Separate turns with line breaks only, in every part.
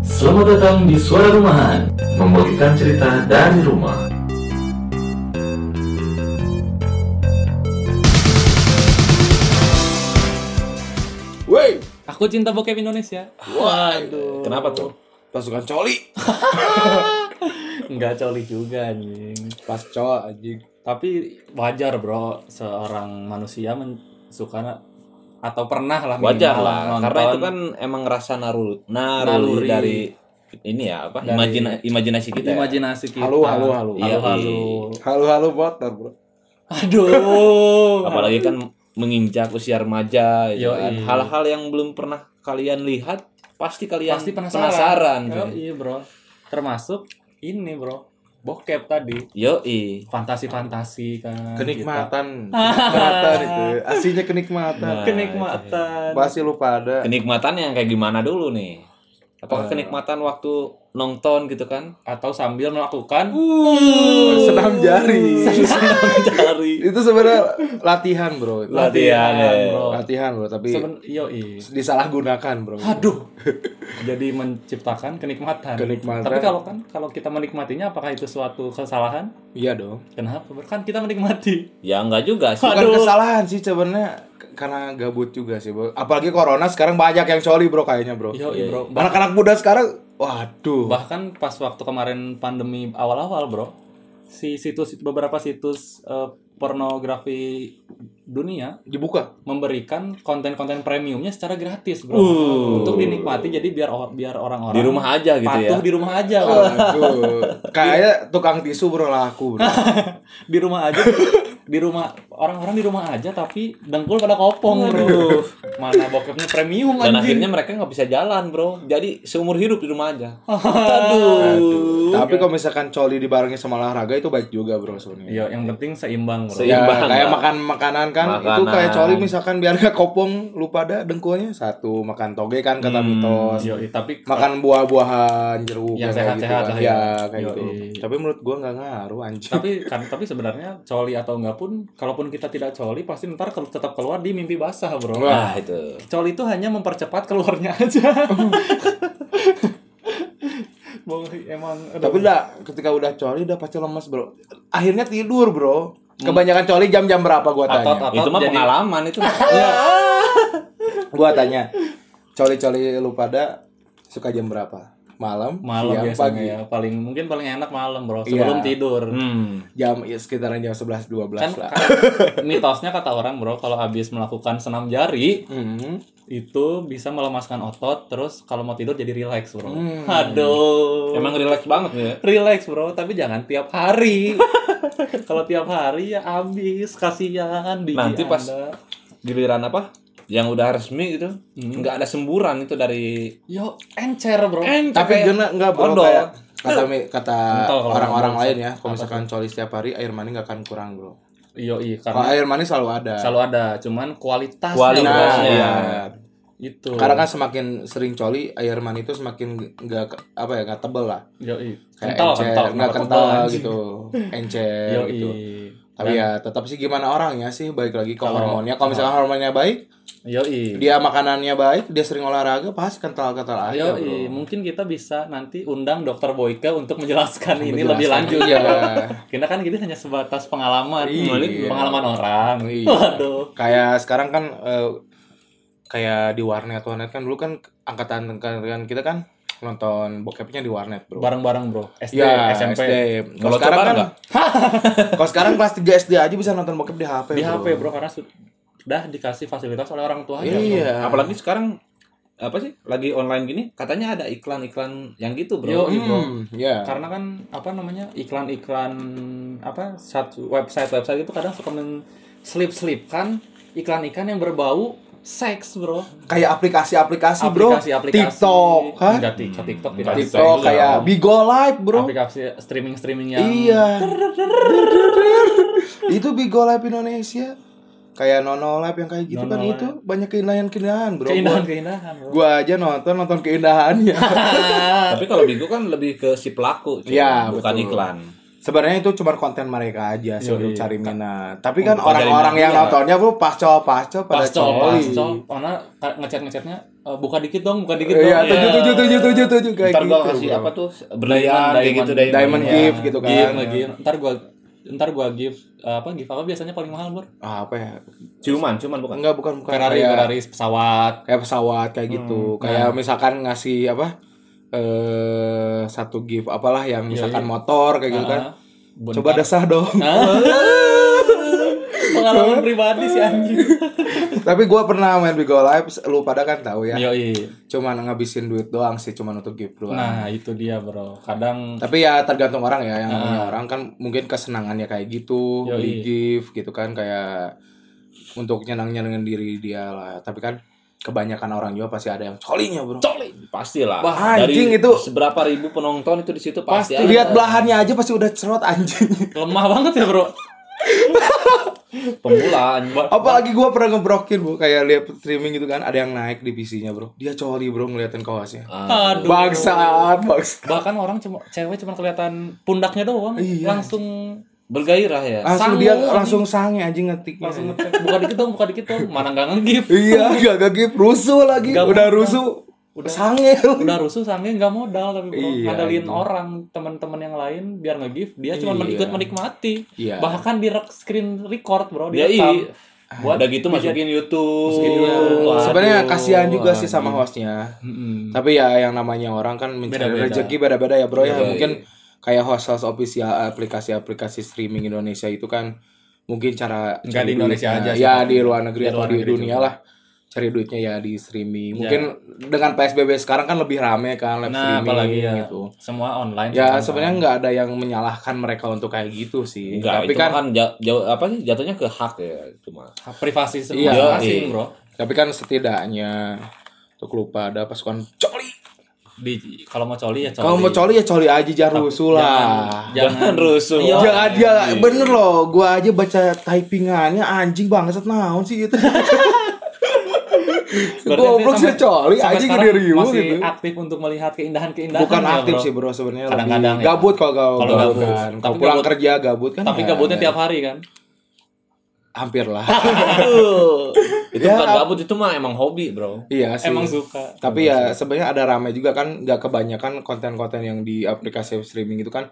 Selamat datang di Suara Rumahan Membagikan cerita dari rumah
Woi,
Aku cinta bokep Indonesia.
waduh.
Kenapa tuh?
Pasukan coli.
Nggak coli juga anjing.
Pas cowok anjing.
Tapi wajar bro, seorang manusia men- suka na- atau pernah lah minimal
wajar lah
nonton
karena itu kan emang rasa narul naruri
Naluri.
dari ini ya apa
Dari-
imajina- imajinasi
gitu
kita ya.
imajinasi kita.
Halu, halu, halu.
Iya.
Halu-halu.
Halo-halo motor, Bro.
Aduh.
apalagi kan menginjak usia remaja gitu
Yoi.
kan. hal-hal yang belum pernah kalian lihat pasti kalian
pasti penasaran.
yo
Ya. Yoi, Iya, bro. Termasuk ini bro, bokep tadi.
yoi
Fantasi-fantasi kan.
Kenikmatan. Kenikmatan itu. gitu ya. Aslinya kenikmatan.
kita. Kenikmatan.
Pasti lu pada.
kenikmatan yang kayak gimana dulu nih
Eh,
apakah
Iya.
kenikmatan waktu nonton gitu kan
Atau sambil melakukan. Uh.
Senam jari.
cari
Itu sebenarnya latihan, Bro.
latihan ya.
Iya. bro.
Latihan, Bro, tapi
Seben- yoi.
disalahgunakan, Bro.
Aduh. Jadi menciptakan kenikmatan.
Kenikmatan.
Tapi kalau kan kalau kita menikmatinya apakah itu suatu kesalahan?
Iya dong.
Kenapa? Kan kita menikmati.
ya enggak juga sih
Bukan kesalahan sih sebenarnya K- karena gabut juga sih, Bro. Apalagi corona sekarang banyak yang coli, Bro, kayaknya, Bro.
Yo, bro. Bah-
Anak-anak muda sekarang waduh.
bahkan pas waktu kemarin pandemi awal-awal, Bro, si situs beberapa situs eh, pornografi dunia
Dibuka.
memberikan konten-konten premiumnya secara gratis, Bro. Untuk dinikmati jadi biar or- biar orang-orang
Uh. di rumah aja gitu ya Uh.
patuh di rumah aja, Bro.
Waduh. Kayaknya tukang tisu, Bro, laku, Bro.
di rumah aja di rumah orang-orang di rumah aja tapi dengkul pada kopong bro mana bokepnya premium
dan
anjing
akhirnya mereka nggak bisa jalan bro jadi seumur hidup di rumah aja
Ah.
Aduh. Tapi kalau misalkan coli dibarengi sama olahraga itu baik juga bro sebenarnya.
iya yang penting seimbang bro
Ya,
Seimbang,
kayak
Bang.
makan makanan kan itu
Makanan.
kayak coli misalkan biar gak kopong lupa ada dengkulnya satu makan toge kan kata
Hmm,
mitos.
Yoi, tapi
Makan buah-buahan jeruk
iya. Yang
kayak gitu
sehat-sehat
kan.
lah ya.
ya kayak
Yoi.
gitu. Tapi menurut gua nggak ngaruh anjing.
tapi kan tapi sebenarnya coli atau enggak pun kalaupun kita tidak coli pasti ntar kalau tetap keluar di mimpi basah bro
Nah
Wah.
itu
coli itu hanya mempercepat keluarnya aja Bang, emang
Tapi udah ketika udah coli udah pasti lemes bro. Akhirnya tidur bro.
Hmm.
Kebanyakan coli jam-jam berapa gua
Otot-otot
tanya.
itu mah
jadi- Ya.
pengalaman itu
gua tanya. Coli-coli lu pada suka jam berapa? Malam,
malam
siang,
biasanya
pagi.
ya paling mungkin paling enak malam bro sebelum
Iya.
tidur
hmm.
jam ya, sekitaran jam 11 12
kan
lah.
kan mitosnya kata orang bro kalau habis melakukan senam jari
Hmm.
itu bisa melemaskan otot terus kalau mau tidur jadi relax bro aduh
Hmm. emang relax banget ya
relax bro tapi jangan tiap hari kalau tiap hari ya habis kasihan biji
Nanti pas-
Anda.
giliran apa yang udah resmi gitu
Hmm.
nggak ada semburan itu dari
yo encer bro
Tapi
Kayak
gimana enggak bro
odol.
kayak kata mi- kata
Entah kalau
orang-orang
orang
lain ya, kalau misalkan coli setiap hari air mani nggak akan kurang, Bro.
yo iya
Kalau
karena
air mani selalu ada.
selalu ada cuman kualitasnya
Kualitas.
Nah,
bro.
Iya.
iya.
itu
Karena kan semakin sering coli, air mani itu semakin nggak apa ya, nggak tebel lah.
yo iya
Kayak
kental
encer,
kental
nggak
kenapa
kental
tebal, anjing?
gitu, encer
yo
gitu.
iya
Tapi ya tetap sih gimana orangnya sih, baik lagi ke hormonnya. Kalau misalkan hormonnya baik,
yo iya
dia makanannya baik, dia sering olahraga, pasti kental-kental
Ayo,
aja, Bro.
i- mungkin kita bisa nanti undang Dokter Boyke untuk menjelaskan ini
Menjelaskan.
lebih lanjut
Iya.
Karena kan kita hanya sebatas pengalaman,
Iya.
pengalaman orang.
Iya.
Waduh.
kayak sekarang kan eh, kayak di warnet warnet kan dulu kan angkatan angkatan kita kan nonton bokepnya di warnet bro
Bareng-bareng, Bro. SD,
Iya,
SMP.
SD.
Ngelocok
Kalau sekarang kan,
bareng
kalau sekarang kelas 3 SD aja bisa nonton bokep di HP.
Di HP, Bro, karena sudah dikasih fasilitas oleh orang tua
Iya.
apalagi sekarang apa sih lagi online gini katanya ada iklan-iklan yang gitu bro
Yo, i- bro.
Hmm, iya.
Karena kan apa namanya? iklan-iklan apa satu website-website itu kadang suka menselip-selipkan iklan-iklan yang berbau seks, Bro.
Kayak aplikasi-aplikasi, bro.
Aplikasi-aplikasi
TikTok, hah?
Enggak, TikTok, TikTok, tidak bisa.
TikTok kayak Bigo Live, bro.
aplikasi streaming streaming yang
Iya. itu Bigo Live Indonesia. Kayak Nono Live yang kayak gitu kan itu banyak keindahan-keindahan, bro.
keindahan keindahan
Gua aja nonton nonton keindahannya.
tapi kalau Bigo kan lebih ke si pelaku cuy.
Iya,
bukan
Ah. betul.
iklan
Sebenarnya itu cuma konten mereka aja sih untuk
Yoi.
cari minat. Tapi kan
Untuk mencari
orang-orang yang
minat, iya.
nontonnya bu pasco pasco pada
pascol
coli.
pascol karena ka- ngechat ngechatnya "Eh, buka dikit dong buka dikit Gitu dong
Iya, tujuh tujuh tujuh tujuh tujuh kayak
Ntar
gitu.
gua kasih
bro.
apa tuh berlian
Diamond,
kayak gitu
diamond.
Diamond
ya.
gift gitu kan.
give lagi ntar gua ntar gua give apa give apa biasanya paling mahal bro
Ah, apa ya?
Ciuman, ciuman bukan.
Enggak bukan bukan
Ferrari
kayak,
Ferrari pesawat
kayak pesawat kayak
Hmm,
gitu.
nah.
Kayak misalkan ngasih apa? eh satu gift apalah yang misalkan motor kayak gitu
Iya, Ah,
kan.
boneka. Ah.
Coba dasah dong.
pengalaman pribadi sih anjing
Tapi gua pernah main Bigo Live, lu pada kan tahu ya.
yoi
Cuman ngabisin duit doang sih, cuman untuk gift doang.
nah itu dia bro kadang
Tapi ya tergantung orang ya, yang namanya orang kan mungkin kesenangannya kayak gitu,
Ah. Yoi.
di gift gitu kan kayak untuk nyenang-nyenengin diri dia lah. Tapi kan kebanyakan orang juga pasti ada yang colinya, Bro.
Pastilah.
Wah,
Dari
anjing itu.
Seberapa ribu penonton itu di situ pasti.
Pasti.
ada.
Lihat belahannya aja pasti udah cerot anjing.
lemah banget ya bro
Pemula. anjing.
Apalagi gua pernah ngebrokin, Bu, kayak lihat streaming gitu kan, ada yang naik di PC-nya, Bro. Dia coli, Bro, ngeliatin kaosnya.
aduh
Bangsaan, bangsa.
bahkan orang cuma cewek cuma kelihatan pundaknya doang langsung
Bergairah ya.
Iya. Langsung
Sangu,
dia
anjing.
langsung sange anjing ngetiknya.
langsung ngecek buka dikit dong buka dikit dong mana nggak ngegip
iya, gak gagip, rusuh lagi.
Gak
udah
mau.
rusuh, udah sange.
udah rusuh sange nggak modal tapi bro
Iya,
ngandalin
anjing.
orang teman-teman yang lain biar nge-give dia cuma
Iya.
ikut menikmati
Iya.
bahkan di rek- screen record bro
Dia
dia
i.
rekam.
Buat udah gitu masukin YouTube.
Masukin YouTube.
Waduh,
Iya. Sebenarnya kasihan juga sih sama
anjing.
hostnya.
Mm-mm.
Tapi ya yang namanya orang kan mencari
Beda-beda.
rezeki beda-beda ya bro ya.
Iya,
Mungkin kayak host-host official aplikasi-aplikasi streaming Indonesia itu kan mungkin cara
Nggak
cari
di Indonesia
duitnya.
aja sih.
Ya di luar negeri
Di
atau
luar
di
negeri juga.
dunia
Iya.
lah cari duitnya ya di streaming. Mungkin dengan PSBB sekarang kan lebih rame kan live
nah
streaming
apalagi ya
gitu.
semua online
Ya
sekarang.
sebenarnya nggak ada yang menyalahkan mereka untuk kayak gitu sih.
Enggak,
Tapi
itu
kan
kan jauh, jauh apa sih jatuhnya ke hak ya cuma.
Hak privasi semua
Iya,
masing-masing,
iya.
bro
tapi kan setidaknya untuk lupa ada pasukan coli.
di kalau mau coli ya coli
Kalau mau coli ya coli aja jangan rusuh lah.
jangan, jangan
rusuh.
Iya.
Jangan dia bener loh, gua aja baca typingannya anjing bangsat naon sih itu.
Berarti
Goblok
sampai-
sih coli
sampai
anjing
sekarang
gede riuh
masih
gitu.
aktif untuk melihat keindahan-keindahan
Bukan
ya,
aktif
bro.
sih bro sebenarnya lebih
Kadang-kadang ya.
gabut kalau gabut,
Kalau gabut.
kan. Kalau
Tapi
pulang
gabut-
kerja gabut kan.
tapi
ya,
gabutnya
ya.
tiap hari kan
hampir lah.
Aduh. itu
Ya.
bukan gabut itu mah emang hobi, Bro.
iya sih.
emang suka
tapi ya sebenarnya ada rame juga kan nggak kebanyakan konten-konten yang di aplikasi streaming itu kan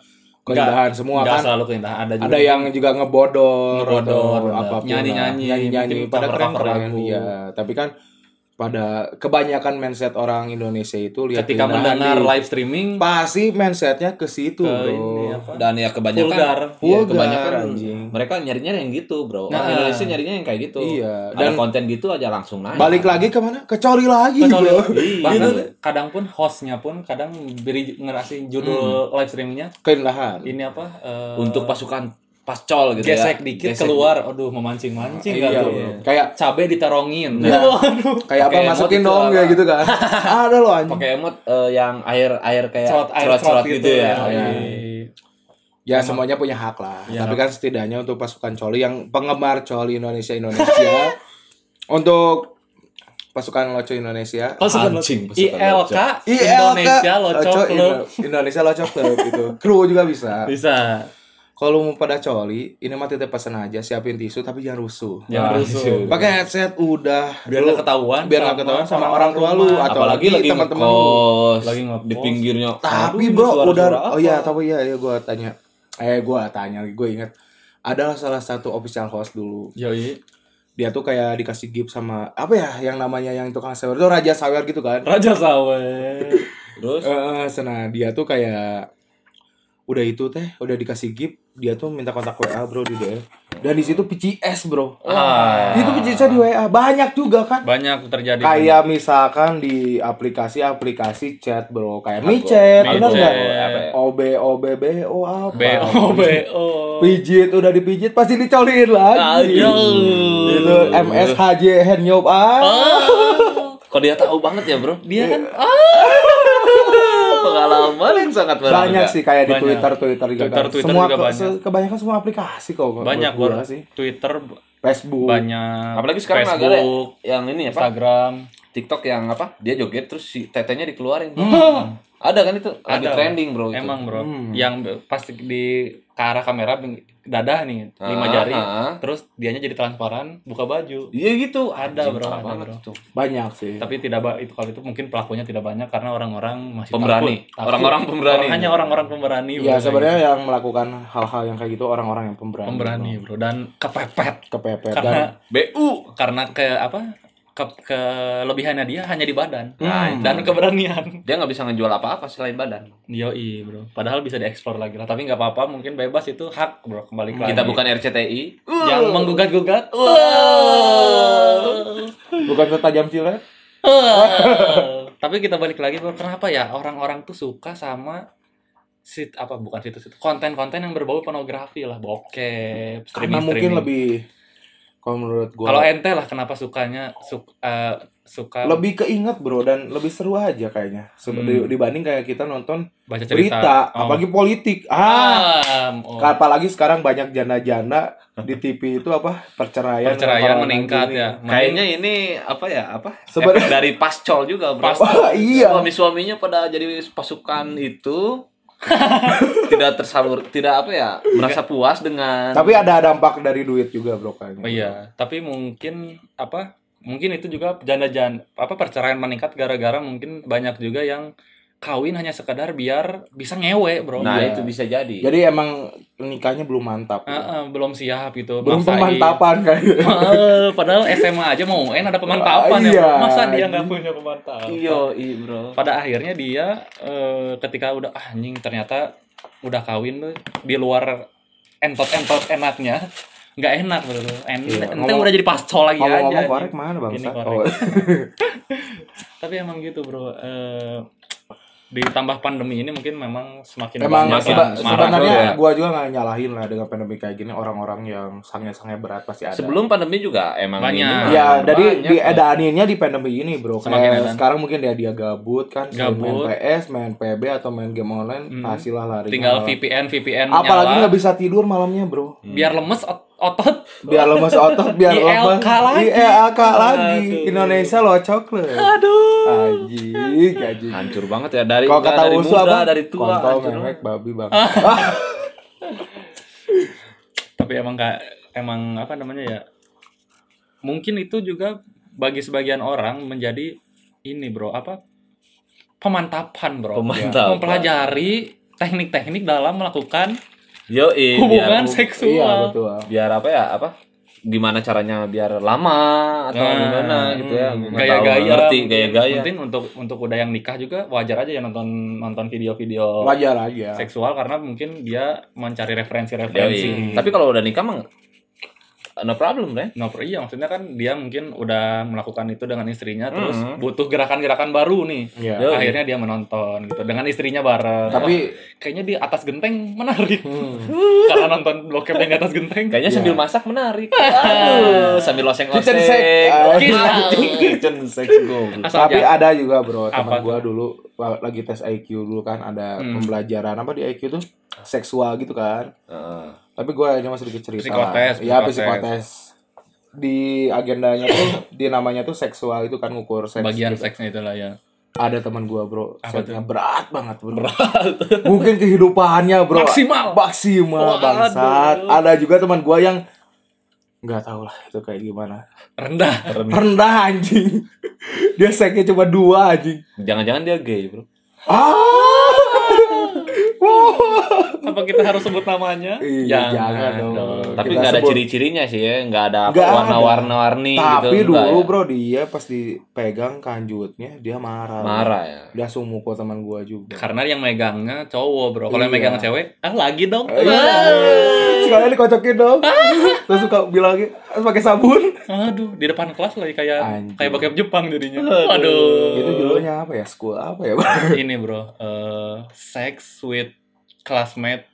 keindahan semua
Nggak
kan
selalu keindahan ada juga
ada yang juga ngebodor,
Ngebodor, bener.
apa
Nyanyi-nyanyi,
nyanyi nyanyi
mungkin
pada keren
cover-cover
keren
lagu.
iya tapi kan pada kebanyakan mindset orang Indonesia itu lihat
ketika
keindahan
mendengar
di-
live streaming
pasti mindsetnya ke situ
ke
bro
ini apa
Dan ya kebanyakan
Vulgar.
Iya,
Vulgar,
kebanyakan
anjing.
mereka nyarinya yang gitu, Bro. Orang
Nah.
Indonesia nyarinya yang kayak gitu.
Iya,
Dan
dan-
konten gitu aja langsung naik.
balik lagi kemana ke coli lagi
kecuali
iya, bro.
bahkan
Iya.
kadang pun hostnya pun kadang beri ngerasi
Hmm.
judul live streamingnya
keindahan
ini apa eh,
untuk pasukan pascol gitu ya.
gesek dikit
Gesek
keluar aduh memancing mancing tuh
iya, bro. kayak
cabe ditarongin
Iya.
waduh
kayak apa
Pakai emot
masukin
itu
dong
apa?
ya gitu kan ada loh anjing
pakai emot eh, yang air air kayak
cerot air
cerot-cerot
cerot gitu ya
Iya.
ya semuanya punya hak lah
Iya.
tapi kan setidaknya untuk pasukan coli yang penggemar coli Indonesia Indonesia untuk pasukan loco Indonesia
Pasukan lo-
Anjing, pasukan
ILK
ILK,
Iya, Indonesia Locok Club
Indo- Indonesia Locok Club gitu. Kru juga bisa.
bisa
Kalau mau pada coli, ini mah titip pesan aja, siapin tisu tapi jangan rusuh. Nah,
jangan
Wah,
rusuh
Pakai headset udah.
Ya. biar
Lu-
nggak ketahuan
iya. biar nggak ketahuan sama orang tua lu
rumah.
atau
apalagi lagi
teman-teman lu.
ngekos
Lagi ngekos.
di pinggirnya
Tapi
Aduh,
bro
suara-suara
udah
apa?
oh iya tapi iya iya gua tanya. Eh gua tanya, gue ingat adalah salah satu official host dulu.
Yoi.
Dia tuh kayak dikasih gift sama apa ya yang namanya yang tukang sawer itu raja sawer gitu kan.
Raja Sawer
terus
Eh, sana dia tuh kayak udah itu teh udah dikasih gift dia tuh minta kontak WA bro di DM dan di situ PCS bro
Ah.
itu PCS di WA banyak juga kan
banyak terjadi
kayak misalkan di aplikasi-aplikasi chat bro kayak micet
Mi
bener
Chat.
nggak
Apa ya?
OB OB BO apa
BO BO
pijit udah dipijit pasti dicolin lagi
Ayo.
itu MSHJ hand job ah
kok dia tahu banget ya bro
dia kan
pengalaman yang sangat
banyak sih kayak di
Banyak.
Twitter Twitter juga
Twitter-
kan.
Twitter
semua
juga
ke-
banyak.
se- kebanyakan semua aplikasi kok menurut
banyak
gua
gua
sih
Twitter
Facebook
banyak
apalagi sekarang agak ada
Facebook
yang ini ya pak
Instagram
TikTok yang apa dia joget terus si tetenya dikeluarin Ada kan itu lagi
Ada.
trending bro. itu.
Emang bro,
Hmm.
yang pasti di ke arah kamera dada nih, lima
Ah,
jari.
ah.
Terus dianya jadi transparan, buka baju.
Iya gitu.
Ada, bro,
parah
ada,
banget
bro.
itu.
Banyak sih.
Tapi tidak ba- itu kalau itu mungkin pelakunya tidak banyak karena orang-orang masih
Pemberani.
takut. Takut.
Orang-orang pemberani.
Orang- Hanya orang-orang pemberani. bro.
Ya sebenarnya yang melakukan hal-hal yang kayak gitu orang-orang yang pemberani.
gitu. pemberani bro dan kepepet
bro. Kepepet gitu. dan
karena
Bu.
karena ke apa? Ke, kelebihannya dia hanya di badan
Hmm.
Nah, itu.
dan keberanian.
Dia nggak bisa ngejual apa-apa selain badan.
Yoi bro, padahal bisa dieksplor lagi lah. Tapi nggak apa-apa, mungkin bebas itu hak bro. Kembali ke
Kita
lagi.
bukan RCTI.
yang menggugat-gugat.
bukan setajam silet.
Tapi kita balik lagi bro, kenapa ya orang-orang tuh suka sama sit apa bukan situs itu konten-konten yang berbau pornografi lah, bokep,
Karena
streaming
mungkin lebih kalau menurut gua
Kalau ente lah kenapa sukanya suk- eh, suka
lebih keinget bro dan lebih seru aja kayaknya
Hmm.
Seb- di- dibanding kayak kita nonton
baca cerita.
berita,
Oh.
apalagi politik. Ah,
Ah, oh.
apalagi sekarang banyak janda-janda di TV itu apa perceraian
perceraian
apalagi
meningkat
ini.
ya.
Kayaknya ini apa ya apa?
Seben-
Efek dari pascol juga bro.
Pascol.
Wah, iya.
Suami-suaminya pada jadi pasukan itu tidak tersalur, tidak apa ya merasa puas dengan.
Tapi ada dampak dari duit juga bro kan. kayaknya.
Oh iya, tapi mungkin apa? Mungkin itu juga janda-janda apa perceraian meningkat gara-gara mungkin banyak juga yang kawin hanya sekedar biar bisa ngewe, Bro.
nah
Iya.
itu bisa jadi.
Jadi emang nikahnya belum
Ah,
mantap. bro.
ah, belum siap gitu.
Iya. belum kan.
maksain.
pemantapan kayaknya.
Ah, Padahal SMA aja mau UN ada pemantapan ya.
Iya.
Bro. Masa dia nggak punya pemantapan?
Iyo, iya bro.
Pada akhirnya dia eh, ketika udah ah, anjing ternyata udah kawin tuh di luar entot-entot enaknya nggak enak bro. En ente
Iya, ngomong-
udah jadi pascol lagi aja.
Ngomong-ngomong
anjing.
korek mana Oh. bang?
iya, Ini korek. Tapi emang gitu bro. Eh, ditambah pandemi ini mungkin memang semakin
Emang
banyak
seba-
yang marah.
sebenarnya
bro, ya.
gua juga nggak nyalahin lah dengan pandemi kayak gini orang-orang yang sange-sange berat pasti ada.
Sebelum pandemi juga emang
Nah, Banyak.
ini mah
Ya,
banyak,
jadi di
bro.
edaaninnya di pandemi ini, Bro.
Semakin
Kayak
edan.
sekarang mungkin dia dia gabut kan, sering main
Gabut.
PS, main PB atau main game online,
Mm.
pastilah lari.
tinggal VPN VPN
Apalagi
nyala.
nggak bisa tidur malamnya, Bro.
biar lemes ot- otot
Biar lemes otot, biar lemes.
ILK lagi.
ILK lagi.
Aduh.
Indonesia lo coklat.
aduh
Anjing, anjing.
hancur banget ya dari
Kalau kata
dari
Usu
muda,
apa?
dari tua
Kontol,
hancur
mewek, babi, bang.
Ah,
Ah,
tapi emang kak emang apa namanya ya mungkin itu juga bagi sebagian orang menjadi ini bro apa pemantapan bro
Pemantapan.
mempelajari teknik-teknik dalam melakukan
yo
hubungan
biar,
seksual
Iya, betul.
biar apa ya apa gimana caranya biar lama atau
Nah,
gimana gitu ya
hmm.
Gua nggak tahu,
gaya-gaya
ngerti
mungkin.
gaya-gaya
mungkin untuk untuk udah yang nikah juga wajar aja ya nonton nonton video-video
Wajar aja.
seksual karena mungkin dia mencari referensi-referensi
Yoi. tapi kalau udah nikah mah no problem deh
No, pro- iya maksudnya kan dia mungkin udah melakukan itu dengan istrinya terus
Mhm.
butuh gerakan-gerakan baru nih.
Iya.
Yoi.
Akhirnya dia menonton gitu dengan istrinya bareng.
Tapi
Wah, kayaknya di atas genteng menarik.
hmm.
Karena nonton bokep yang di atas genteng.
kayaknya
Iya.
sambil masak menarik
Nah.
Aduh, sambil loseng-loseng
Kitchen sex. Ah.
kitchen sex goblok.
Asal
Tapi
jangan-
ada juga bro, teman
Apa
gua dulu la- lagi tes IQ dulu kan ada
Hmm.
pembelajaran apa di IQ tuh seksual gitu kan.
Heeh.
Tapi gua cuma sedikit cerita. lah.
Psikotes,
Ya
psikotes.
psikotes. Di agendanya tuh di namanya tuh seksual itu kan ngukur seks.
bagian
gitu.
seksnya itu lah ya.
Ada teman gua bro,
Apa
seksnya berat banget bro. Mungkin kehidupannya bro.
Maksimal.
Maksimal
Waduh.
bangsat. Ada juga teman gua yang nggak tahu lah itu kayak gimana.
Rendah.
Rendah anjing. Dia seksnya cuma dua anjing.
jangan-jangan dia gay bro
Ah. Wah.
Apa kita harus sebut namanya?
Iya, jangan dong.
tapi
Kita
nggak ada
sebut.
ciri-cirinya sih ya nggak ada apa,
Nggak ada.
warna-warna-warni gitu
Tapi
nggak
dulu
ya.
bro dia pas dipegang kanjutnya dia marah.
marah ya
Dia sumuko teman gua juga.
Karena yang megangnya cowok, Bro. Kalau yang
Iya.
megang cewek, ah lagi dong.
Iya.
Eh, Sekalian dikocokin dong. Terus suka bilang "Harus pakai sabun.
Aduh, di depan kelas lagi kayak
Anjing.
kayak bokep Jepang jadinya. Aduh.
Gitu.
Itu judulnya apa ya? School apa ya? Bro?
Ini, Bro. eh sex with classmate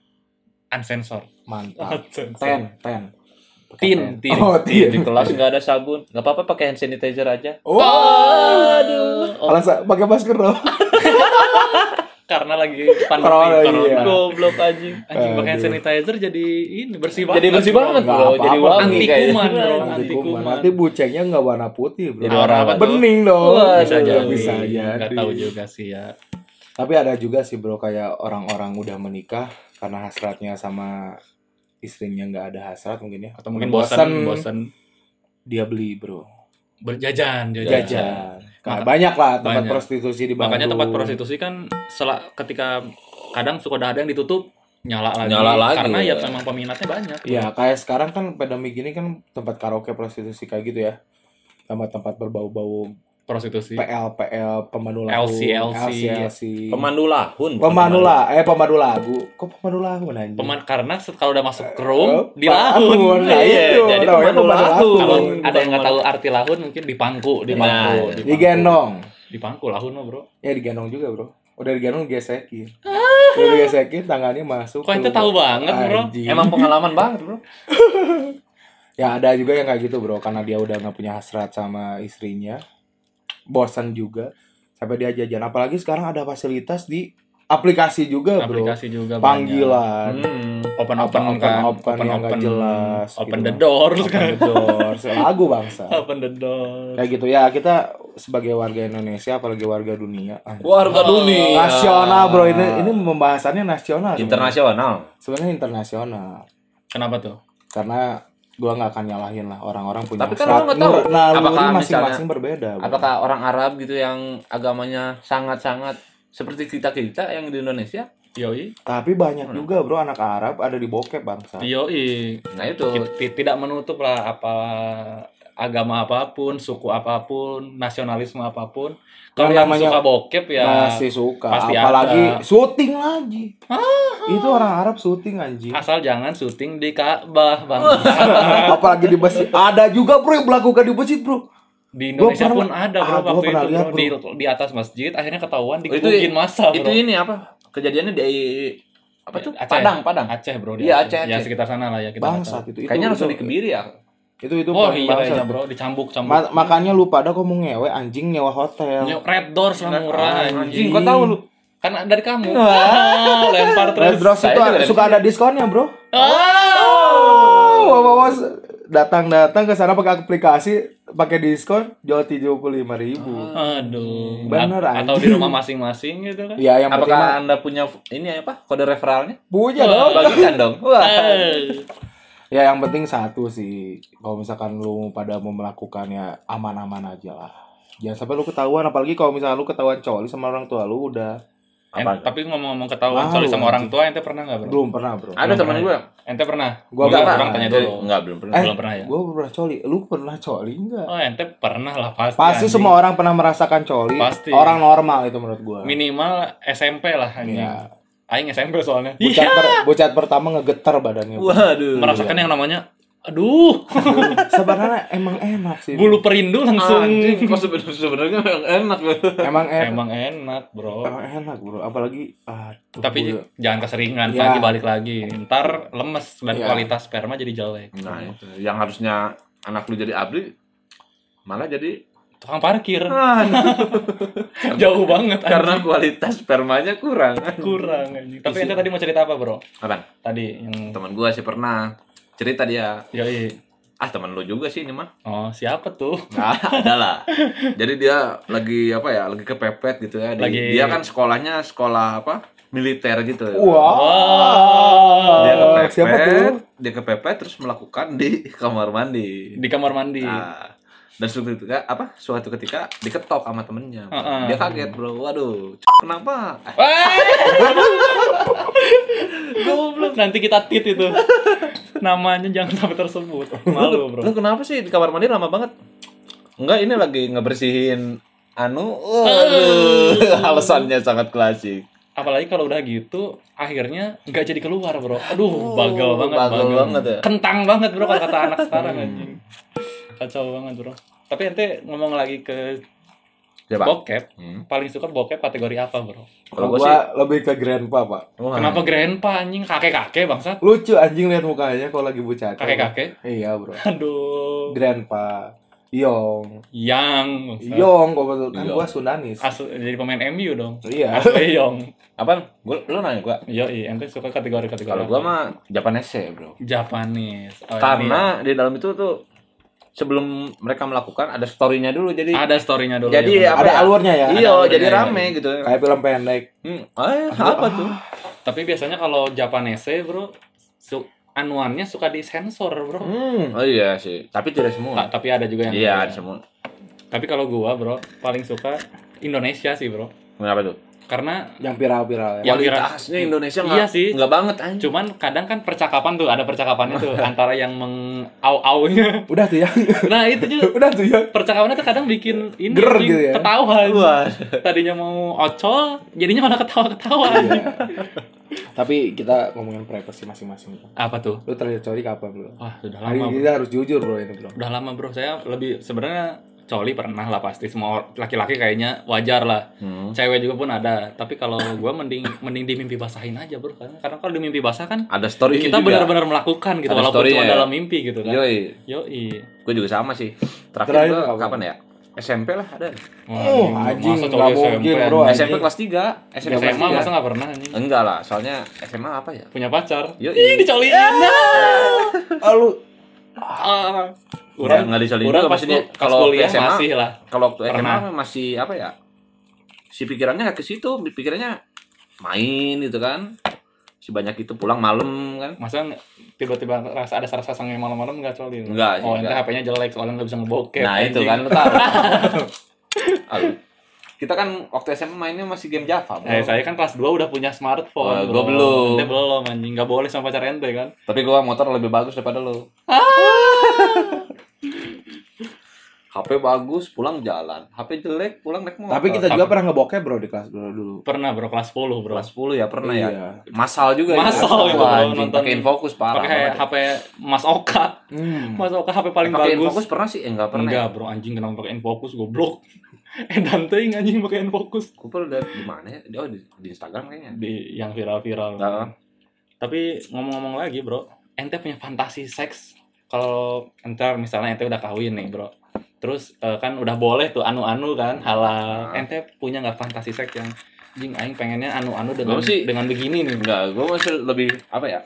uncensored.
Mantap.
Uncensored.
Ten, ten. Pakai
Tin, tin.
Oh,
di
tin.
kelas nggak ada sabun nggak apa-apa pakai hand sanitizer aja
Waduh. Alasan pakai masker dong.
Karena lagi pandemi
Corona,
corona.
iya.
goblok anjing
Anjing pakai hand
Aduh.
sanitizer jadi ini bersih banget.
jadi bersih banget
Nggak
bro jadi
apa-apa.
wangi
Anti
kayaknya.
kuman, Bro.
Nanti
Anti
kuman.
kuman.
Nanti bucengnya nggak warna putih bro.
Jadi warna
apa tuh?
Bening dong.
Waduh,
Bisa jadi.
Bisa
Nggak
jadi.
tahu juga sih ya.
Tapi ada juga sih bro kayak orang-orang udah menikah karena hasratnya sama istrinya nggak ada hasrat mungkin ya
atau mungkin bosan bosan
dia beli bro
berjajan jajan.
jajan. Nah,
Iya, Maka-
banyak lah tempat
banyak.
prostitusi di Bandung.
Makanya tempat prostitusi kan setelah ketika kadang suka ada yang ditutup nyala lagi.
Nyala lagi,
Karena ya
ya.
memang peminatnya banyak.
Iya, kayak sekarang kan pandemi gini kan tempat karaoke prostitusi kayak gitu ya. Sama tempat berbau-bau
Prostitusi.
PL PL pemandu lagu,
LC, LC.
LC.
Pemandu lahun. bukan
Pemandu la- eh pemandu lagu. Kok pemandu lagu nanya?
Peman karena se- kalau udah masuk ke room di
Lahun,
lahun.
nah
Iya,
itu,
jadi
namanya
pemandu lahun.
Kalau
Lahun,
ada yang nggak
bukan
tahu arti lahun mungkin dipangku, dipangku,
Nah,
dipangku.
Digendong.
Dipangku lahun mah, Bro.
Ya digendong juga, Bro. Udah digendong gesekin. Udah digesekin tangannya masuk.
Kok ente
tuh.
tahu banget, Bro?
Anjing.
Emang pengalaman banget bro.
Ya ada juga yang kayak gitu bro, karena dia udah nggak punya hasrat sama istrinya, bosan juga, sampai dia jajan. Apalagi sekarang ada fasilitas di aplikasi juga bro,
Aplikasi juga banyak.
panggilan,
Hmm.
open
apa,
open
open,
kan
open yang nggak jelas,
open
gitu.
the door
open the door, lagu bangsa.
open the door
Kayak gitu ya kita sebagai warga Indonesia, apalagi warga dunia. ah.
Warga dunia.
Nasional bro, ini ini pembahasannya nasional. sebenarnya.
Internasional.
Sebenarnya internasional,
kenapa tuh
karena gua nggak akan nyalahin lah orang-orang punya
Tapi kan lu nggak tahu
Nur- naluri
apakah
masing-masing berbeda. bro.
Apakah orang Arab gitu yang agamanya sangat-sangat seperti kita-kita yang di Indonesia?
yoi
Tapi banyak
Hmm.
juga bro anak Arab ada di bokep bangsa.
Iya. yoi
Nah itu.
Ti- tidak menutup lah apa agama apapun suku apapun nasionalisme apapun kalau
Yang
yang
namanya-
suka bokep ya
Masih suka.
pasti
Apalagi
ada. Ah.
syuting lagi. Itu orang Arab syuting anjing.
asal jangan syuting di Ka'bah bang
Apalagi di masjid. Ada juga bro yang melakukan di masjid bro.
di Indonesia
Gua pernah-
pun ada bro
Ah, gua
waktu itu
pernah lihat,
bro. Di, di atas masjid akhirnya ketahuan
Oh, itu-
digebukin masa bro
itu ini apa? Kejadiannya di apa tuh?
Aceh.
Padang, Padang.
Aceh bro di
Iya, Aceh,
ya
Aceh.
sekitar sana lah ya kita nggak
Bangsat
tahu.
itu. itu
Kayaknya langsung
itu-
di kebiri ya.
Itu itu
oh
paling
iya
bangsat.
kayaknya bro dicambuk cambuk
Ma- makanya lu pada kok mau ngewe anjing nyewa hotel.
Nyok red door sama
Ah,
murah anjing.
Anjing, kok tahu lu?
Kan dari kamu. Ah, lempar
Red
terus.
Rocks
saya
itu
juga
ada-
dari
suka ada diskonnya bro.
Ah.
Oh, wow, wow, wow. datang-datang ke sana pakai aplikasi pakai diskon jual tujuh puluh lima ribu.
Hmm. Aduh.
Bener,
A- Atau di
anjing.
rumah masing-masing gitu kan.
Iya, yang penting mah-
Apakah Anda punya ini apa? Kode referralnya?
Punya
Hmm.
dong.
Bagikan dong. Wah.
Eh,
Ya yang penting satu sih. Kalau misalkan lu pada mau melakukannya aman-aman aja lah. Jangan sampai lu ketahuan apalagi kalau misalkan lu ketahuan coli sama orang tua lu udah
en-
Apa?
tapi ngomong-ngomong ketahuan soal
Malu,
sama orang
anjing.
tua ente pernah nggak bro?
belum pernah, Bro.
Ada teman gue.
Ente pernah?
Gua
Belum,
pernah.
Bang tanya dulu.
Enggak, belum pernah.
Eh.
Belum pernah ya.
Gua belum pernah coli. Lu pernah coli enggak?
Oh ente pernah lah pasti.
Pasti
anjing.
semua orang pernah merasakan coli.
Pasti.
Orang normal itu menurut gua.
minimal SMP lah anjing.
Iya.
Aing SMP soalnya.
Bucat, per- bucat pertama ngegetar badannya. Bro.
Waduh.
Merasakan yang namanya aduh,
Sebenarnya emang enak sih. Bro.
bulu perindu langsung.
Anjing, kok sebenarnya sebenarnya yang enak loh.
Emang enak.
Emang enak, Bro.
Emang enak, Bro. Apalagi aduh,
tapi
gua-
jangan keseringan
Ya.
pagi balik lagi ntar lemes dan
Ya.
kualitas sperma jadi jelek
Nah, itu. yang harusnya anak lu jadi abdi malah jadi
tukang parkir
Ah,
jauh banget
karena kualitas spermanya kurang.
anjing. kurang anjing. tapi ente tadi mau cerita apa bro
Apa?
tadi yang
Teman gua sih pernah cerita dia.
yoi
Ah, teman lu juga sih ini mah.
oh siapa tuh
Nah, ada lah. Jadi dia lagi apa ya? Lagi kepepet gitu ya. Di-
Lagi-
Dia kan sekolahnya sekolah apa? Militer gitu.
Wow.
Eh,
Dia kepepet.
Siapa tuh?
Dia kepepet terus melakukan di kamar mandi.
di kamar mandi
Nah, dan suatu ketika apa? Suatu ketika diketok sama temennya.
Heeh.
Dia kaget bro. Waduh, c- kenapa? Eh,
Goblok. nanti kita tit itu namanya jangan sampai tersebut malu bro
Lu kenapa sih di kamar mandi lama banget? Enggak, ini lagi ngebersihin anu.
Eh.
Waduh, alasannya sangat klasik.
apalagi kalau udah gitu akhirnya nggak jadi keluar bro aduh bagel banget
bagel Oh, banget ya.
kentang banget bro kalau kata anak sekarang anjing kacau banget bro tapi ente ngomong lagi ke
Coba.
bokep
Hmm.
paling suka bokep kategori apa bro
Kalau
Kalau
gua
gua,
sih-
lebih ke grandpa, Pak.
Wah.
kenapa grandpa anjing kakek kakek bangsat
Lucu anjing lihat mukanya kalau lagi bucat.
kakek kakek
Iya, Bro.
aduh
Grandpa. Yong.
yang bangsat.
Yong kok betul kan
Yong.
gua Sundanis.
Asu, jadi pemain MU dong
Oh,
Iya.
Asli Yong
Apa? Gua, lu nanya gua.
Yo, ente suka kategori kategori iya.
Kalau gua mah Japanese bro.
Japanese Oh,
Karena di dalam itu tuh sebelum mereka melakukan ada story-nya dulu jadi
Ada storynya dulu.
Jadi
ya, bener.
apa
ada
ya?
alurnya ya
iya
alurnya,
jadi
iya.
rame gitu.
kayak film pendek
Hmm, eh, apa tuh?
Tapi biasanya kalau Japanese, bro, su- anuannya suka disensor, bro.
hmm.
Oh iya sih, tapi tidak semua.
Ta- tapi ada juga yang
Iya, ada semua.
Tapi kalau gua, bro, paling suka Indonesia sih, bro.
Kenapa tuh?
Karena
yang viral-viral ya
Yang
Kualitasnya
kira-
Indonesia
Iya
nggak
sih.
nggak banget anjir.
cuman kadang kan percakapan tuh ada percakapan itu antara yang mengau-aunya.
udah tuh ya
Nah, itu juga
udah tuh ya
percakapannya tuh kadang bikin ini
Ger
anjing,
gitu ya.
ketawa
Wah.
tadinya mau ocol jadinya malah ketawa-ketawa
Iya. tapi kita ngomongin privacy masing-masing
apa tuh
lu terakhir coli kapan bro?
wah sudah Ah,
Hari
lama bro.
kita harus jujur bro ini bro
udah lama bro saya lebih sebenarnya coli pernah lah pasti semua or- laki-laki kayaknya wajar lah
Hmm.
cewek juga pun ada tapi kalau gua mending mending di mimpi basahin aja bro karena, karena kalau di mimpi basah kan
Ada story
kita benar-benar melakukan
Iya
gitu
Ada
walaupun
story-nya
cuma
ya.
dalam mimpi gitu kan
Yoi,
yoi
gue juga sama sih.
Terakhir
Terakhir
kapan?
gua kapan ya? SMP lah ada.
Wah,
Oh, anjing, nggak mungkin, bro.
Oh,
Anjing.
SMP kelas 3, SMP
SMA
kelas
masa
3.
nggak pernah anjing
Enggak lah, soalnya SMA apa ya?
punya pacar
Yoi.
ih dicoliin
Ya. ah, lu
Ah.
Orang nggak disalin juga
orang pas
maksudnya
ku- pas
kalau waktu
kuliah
SMA
masih lah.
Kalau waktu
Pernah.
SMA masih apa ya? Si pikirannya nggak ke situ, pikirannya main gitu kan. Si banyak itu pulang malam kan.
Masa nge- tiba-tiba rasa ada rasa sange malam-malam nggak colin?
Nggak sih,
Oh, nanti
nggak.
HP-nya jelek soalnya nggak bisa ngebokep.
nah, itu
anjing.
kan lu tahu. Ah, lu- Kita kan waktu SMA mainnya masih game Java. Bro.
Eh, saya kan kelas 2 udah punya smartphone.
Wah,
bro.
gua belum.
Ente belum anjing, nggak boleh sama pacar ente kan.
Tapi gua motor lebih bagus daripada lu. HP bagus, pulang jalan. HP jelek, pulang naik motor.
tapi kita juga pernah ngebokep bro di kelas dulu dulu
Pernah bro kelas 10, bro.
kelas 10 ya pernah
Iya.
ya. Masal juga
Masal
ya.
itu, bro,
Anjing,
nonton.
Pakai Infocus parah.
Pakai
banget.
HP Mas Oka.
hmm.
Mas Oka HP paling
pakai
bagus.
Infocus pernah sih? Eh, enggak pernah.
Enggak, bro, anjing kenapa pakai Infocus goblok. eh, Dante anjing pakai Infocus
Gue pernah lihat di mana ya? Oh, di, di Instagram kayaknya.
di yang viral-viral.
Heeh.
Tapi ngomong-ngomong lagi bro, ente punya fantasi seks kalau entar misalnya ente udah kawin nih bro, terus eh, kan udah boleh tuh anu-anu kan halal.
Ah.
Ente punya nggak fantasi seks yang jing aing pengennya anu-anu
Gua
dengan
sih-
dengan begini nih
Enggak, gue masih lebih apa ya?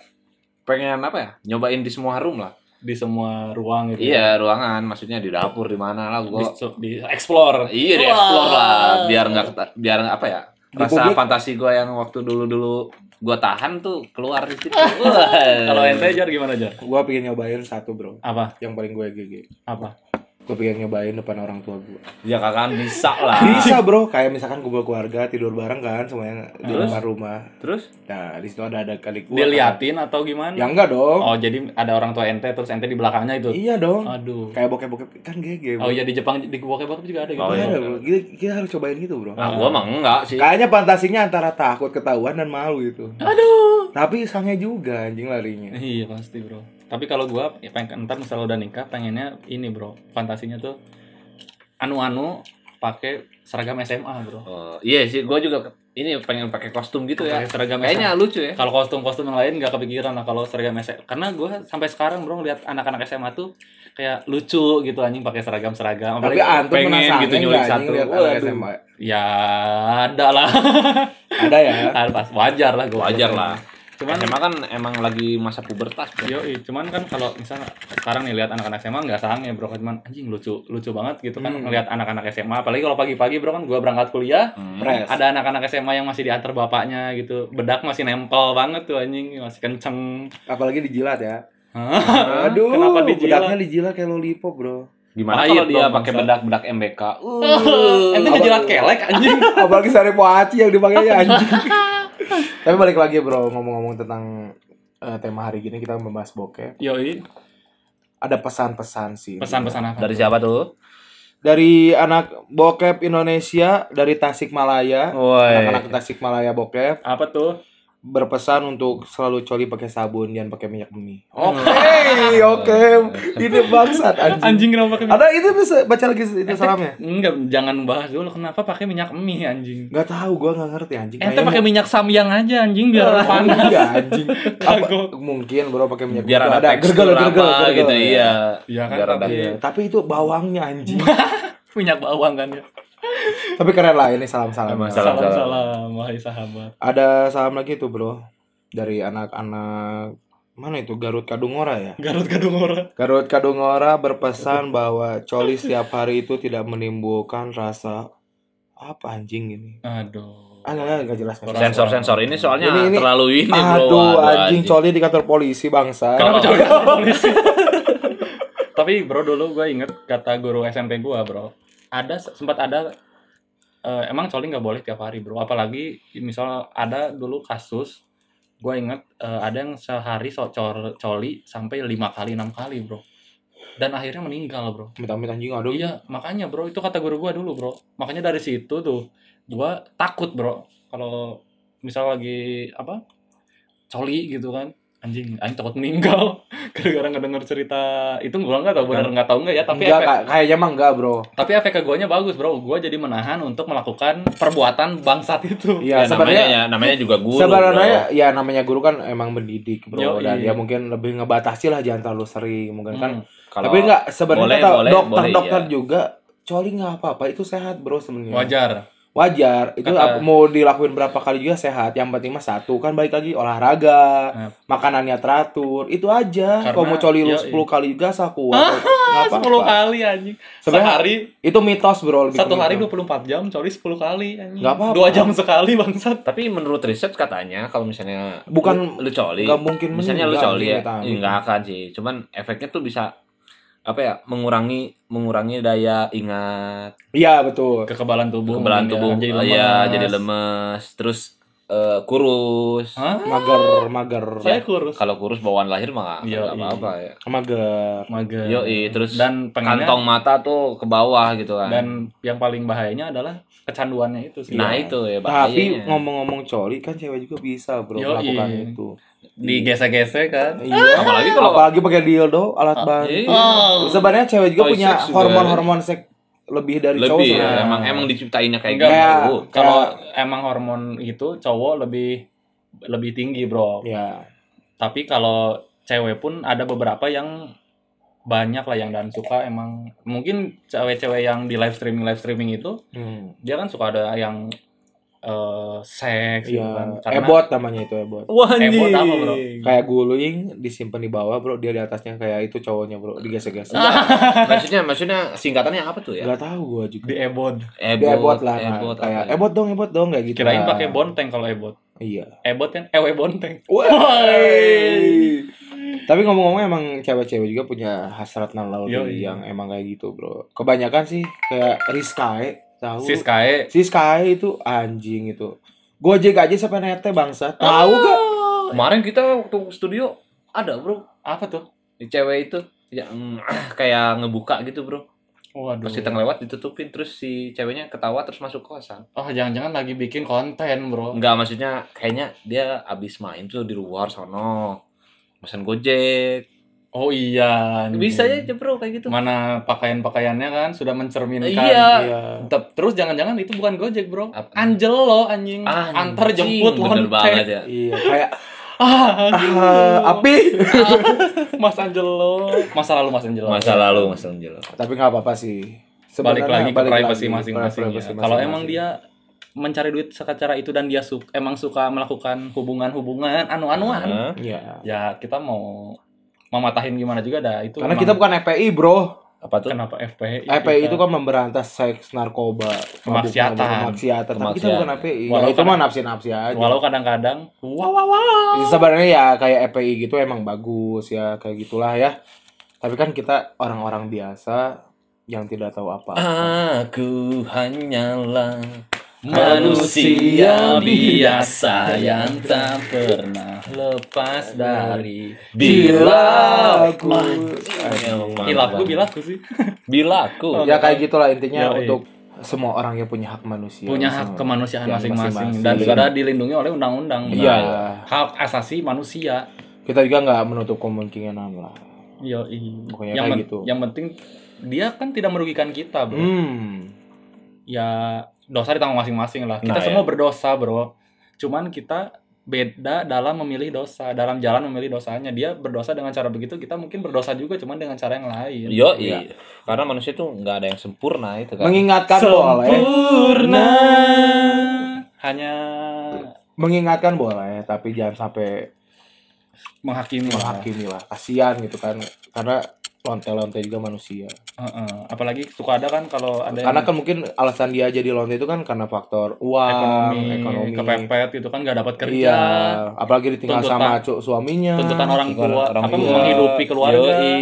Pengen apa ya? Nyobain di semua room lah.
di semua ruang gitu. ya.
Iya, ruangan. Maksudnya di dapur di mana lah
Di,
gue.
di explore.
Iya, di explore lah. Biar nggak keta- biar apa ya?
Di
Rasa
publik.
fantasi gue yang waktu dulu-dulu gue tahan tuh keluar di situ. Wah.
Kalau ente jar gimana jar?
gua pengen nyobain satu bro
Apa?
yang paling gue gigi
Apa?
gue pengen nyobain depan orang tua gue
ya kakak bisa lah.
bisa bro kayak misalkan kumpul keluarga tidur bareng kan semuanya di
Terus?
depan rumah
Terus
nah di situ ada ada kali gua
Diliatin atau
kan.
gimana?
ya enggak dong
Oh jadi ada orang tua ente terus ente di belakangnya itu.
iya dong
Aduh.
kayak bokep-bokep kan gege
Oh
bro.
iya di Jepang di bokep juga ada
gitu.
gitu.
Oh, iya.
Ada, bro. Kita, kita harus cobain gitu bro
nah, gue mah enggak sih.
Kayaknya fantasinya antara takut ketahuan dan malu itu.
Aduh.
Tapi sange juga anjing
Eh,
larinya.
Iya pasti bro. Tapi kalau gua ya pengen entar misalnya udah nikah pengennya ini bro. Fantasinya tuh anu-anu pakai seragam SMA bro.
Oh, iya sih, gue juga ke- ini pengen pakai kostum gitu ya.
Pakai seragam
Kayaknya lucu ya.
SMA. Kalau kostum-kostum yang lain nggak kepikiran lah kalau seragam SMA. Karena gua sampai sekarang bro ngeliat anak-anak SMA tuh kayak lucu gitu anjing pakai seragam-seragam.
Tapi
Apalagi
antum
pengen
penasaran
gitu
nggak
nyulik
anjing
satu.
lihat anak
Waduh.
SMA?
ya ada lah.
Ada ya.
Ada pas wajar lah gua.
Wajar lah.
Cuman
SMA kan emang lagi masa pubertas. Bro.
Yoi, cuman kan kalau misalnya sekarang nih lihat anak-anak SMA nggak sange bro, cuman anjing lucu lucu banget gitu kan
Hmm.
ngelihat anak-anak SMA, apalagi kalau pagi-pagi bro kan gua berangkat kuliah,
Hmm.
Pres.
ada anak-anak SMA yang masih diantar bapaknya gitu, bedak masih nempel banget tuh anjing, masih kenceng.
Apalagi dijilat ya.
Hah?
Aduh,
Kenapa dijilat?
bedaknya dijilat kayak lollipop, Bro.
Gimana
Pahit
kalau dia
dong,
pakai
bangsa.
bedak-bedak MBK? Uh.
Ente ngejilat kelek anjing.
Apalagi sari poaci yang dipakainya anjing. Tapi balik lagi, Bro, ngomong-ngomong tentang eh, tema hari gini kita membahas bokep.
Yoi,
Ada pesan-pesan sih.
pesan-pesan apa?
Dari siapa tuh?
Dari anak bokep Indonesia dari Tasikmalaya. Anak-anak Tasikmalaya bokep
Apa tuh?
berpesan untuk selalu coli pakai sabun dan pakai minyak bumi. Oh,
Oke.
Hey, oke. Ini bangsat anjing.
Anjing kenapa pakai minyak?
Ada itu bisa baca lagi itu salamnya.
Enggak, jangan bahas dulu kenapa pakai minyak mie anjing.
Gak tahu, gua gak ngerti anjing.
Ente
Kayaknya
pakai minyak samyang aja anjing
mungkin-
biar panas.
Enggak, anjing. Apa,
Kagok.
mungkin bro pakai minyak
Biar
bumi.
ada, tekstur apa gitu iya.
Iya kan,
Biar ada.
tapi-
Iya, tapi itu bawangnya anjing.
minyak bawang kan ya.
tapi keren lah ini salam-salam.
Emang salam.
Salam-salam wahai sahabat.
Ada salam lagi tuh, Bro. Dari anak-anak mana itu Garut Kadungora ya?
Garut Kadungora.
Garut Kadungora berpesan bahwa coli setiap hari itu tidak menimbulkan rasa apa anjing ini.
Aduh.
Ah, enggak, enggak, enggak jelas. enggak jelas.
Sensor sensor ini soalnya
Ini- ini-
terlalu ini bro.
Aduh,
Waduh,
anjing coli di kantor polisi bangsa.
Kenapa cowok kantor polisi? Oh. Tapi bro dulu gue inget kata guru SMP gue bro, ada sempat ada eh, emang coli nggak boleh tiap hari bro, apalagi misal ada dulu kasus gue inget eh, ada yang sehari so cor- coli sampai lima kali enam kali bro, dan akhirnya meninggal bro.
Minta-minta anjing aduh.
Iya makanya bro itu kata guru gue dulu bro, makanya dari situ tuh gue takut bro kalau misal lagi apa coli gitu kan anjing anjing takut meninggal gara-gara ngedenger cerita itu gua nggak tahu benar nggak tahu nggak ya tapi
enggak,
efek,
Kak. kayaknya mah enggak, Bro.
tapi efek ke guanya bagus bro gua jadi menahan untuk melakukan perbuatan bangsat itu
Ya, namanya,
Iya, sebenarnya
ya, namanya juga guru.
sebenarnya ya namanya guru kan emang mendidik, Bro.
Yoi.
Dan ya mungkin lebih ngebatasi lah jangan terlalu sering mungkin kan.
Hmm.
Tapi enggak sebenarnya
boleh,
kata
boleh, boleh,
dokter-dokter
iya.
juga coli enggak apa-apa, itu sehat, Bro sebenarnya.
wajar
wajar itu
Kata-
ap- mau dilakuin berapa kali juga sehat yang penting mah satu kan baik lagi olahraga
Nah.
makanannya teratur itu aja
Karena-
kalau mau coli lu
yoi.
10 kali juga sah kuat nggak
Ah, Nah, sepuluh
apa-apa
kali anjing
Sebenarnya
sehari
itu mitos bro lebih ke
satu hari
mitos.
24 jam coli 10 kali anjing
Nggak apa-apa.
dua jam sekali bangsat
Tapi menurut riset katanya kalau misalnya lu,
Bukan-
lu coli,
nggak mungkin
misalnya lu
meninggal,
coli ya,
ternyata.
enggak akan sih. Cuman efeknya tuh bisa apa ya mengurangi mengurangi daya ingat
iya betul
kekebalan tubuh
kekebalan tubuh
mungkin
ya, jadi lemes,
Iya,
jadi lemes terus eh, kurus
Hah?
mager mager
saya kurus
kalau kurus bawaan lahir mah nggak
Iya,
nggak
iya.
apa-apa ya
mager
mager
Yoi, terus
dan pengennya
kantong mata tuh ke bawah gitu kan
dan yang paling bahayanya adalah kecanduannya itu sih
nah itu ya
iya. tapi
bahayanya
ngomong-ngomong coli kan cewek juga bisa
Yoi.
bro melakukan itu
digesek-gesek kan
iya
apalagi kalau
apalagi pakai dildo alat bantu
Eh. iya.
Oh.
sebenarnya cewek juga
Toy
punya
sex juga.
hormon-hormon seks lebih dari cowok
lebih
sebenarnya.
ya, emang emang diciptainnya kayak
Enggak,
gitu
kalau emang hormon itu cowok lebih lebih tinggi bro
ya
tapi kalau cewek pun ada beberapa yang banyak lah yang dan suka emang mungkin cewek-cewek yang di live streaming live streaming itu
Hmm.
dia kan suka ada yang eh seks gitu kan
Iya,
karena
ebot namanya itu ebot.
wah
Ebot apa, bro?
Kayak guling disimpan di bawah, Bro. Dia di atasnya kayak itu cowoknya, Bro. Digesek-gesek.
Ah. maksudnya maksudnya singkatannya apa tuh ya
Enggak tahu gua juga.
di ebot
Dia ebot lah, nah,
ebot,
kayak
apa ya?
ebot dong, ebot dong kayak gitu.
kirain
lah.
pakai bonteng kalau ebot
Iya.
ebot kan ewe bonteng
Woi. Tapi ngomong-ngomong emang cewek-cewek juga punya hasrat naluri
Yoi.
yang emang kayak gitu, Bro. Kebanyakan sih kayak Rizkae, tahu?
sis kae
Si Sky itu anjing itu. Gojek aja sampai nete bangsa.
Oh.
Tahu gak?
kemarin kita waktu studio ada bro
apa tuh
di cewek itu yang kayak ngebuka gitu bro
waduh
Terus kita ngelewat ditutupin terus si ceweknya ketawa terus masuk kosan.
oh jangan-jangan lagi bikin konten bro
Enggak maksudnya kayaknya dia abis main tuh di luar sono. Pesan Gojek.
oh iya anjing.
Bisa aja bro kayak gitu.
mana pakaian-pakaiannya kan sudah mencerminkan
Iya.
Iya.
Tep- terus jangan-jangan itu bukan gojek bro
Apa?
anjel lo anjing
Ah, Anjing,
antar jemput
bener
lonte.
banget ya.
Iya, kayak
ah, anjing lo.
ah, api.
mas anjel lo masa lalu mas anjel lo.
Masa lalu masa lalu.
Tapi nggak apa-apa sih.
balik lagi ke privasi
lagi
masing-masing
ke privasi
ya. kalau
masing-masing.
emang dia mencari duit secara itu dan dia su- emang suka melakukan hubungan-hubungan
Hah?
anu-anuan
Iya.
ya kita mau mematahin gimana juga dah itu
Karena
emang-
kita bukan FPI, Bro.
Apa tuh?
kenapa FPI kita-
FPI itu kan memberantas seks, narkoba,
Iya, Kemaksiatan.
mabuk-mabukan, kemaksiatan. Tapi kita
Kemaksiatan.
bukan FPI. Ya,
Walau
itu mah
kadang-
nafsi-nafsi aja.
walau kadang-kadang wow wow wow
Ya, Sebenarnya ya kayak FPI gitu emang bagus ya kayak gitulah ya. Tapi kan kita orang-orang biasa yang tidak tahu apa.
Aku hanyalah
manusia biasa yang tak pernah lepas
Iya,
dari
bilaku.
iya.
hilafku bilaku sih
bilaku.
Ya kayak gitulah
Ya,
intinya
iya.
untuk semua orang yang punya hak manusia.
punya hak
Semua.
kemanusiaan
Ya,
masing-masing
masing-masing.
dan sudah dilindungi oleh undang-undang Nah,
Iya.
hak asasi manusia
Kita juga nggak menutup kemungkinan lah.
yo
Pokoknya
yang,
kayak
men-
gitu.
yang penting dia kan tidak merugikan kita bro
Hmm.
ya dosa ditanggung masing-masing lah kita
Nah,
ya.
semua berdosa bro cuman kita beda dalam memilih dosa dalam jalan memilih dosanya dia berdosa dengan cara begitu kita mungkin berdosa juga cuman dengan cara yang lain
Yo,
Iya.
karena manusia tuh nggak ada yang sempurna itu kan.
Mengingatkan boleh.
sempurna hanya
Mengingatkan boleh, tapi jangan ya, sampai
menghakimi lah.
menghakimi lah kasihan gitu kan karena lonte-lonte juga manusia
Heeh. apalagi suka ada kan kalau ada yang
karena kan mungkin alasan dia jadi lonte itu kan karena faktor uang
ekonomi,
ekonomi,
kepepet gitu kan nggak dapat kerja
iya apalagi ditinggal
tuntutan-
sama cu- suaminya Iya.
tuntutan orang
Tuntutan
tua
orang
apa
tua.
menghidupi keluarga
Yoi.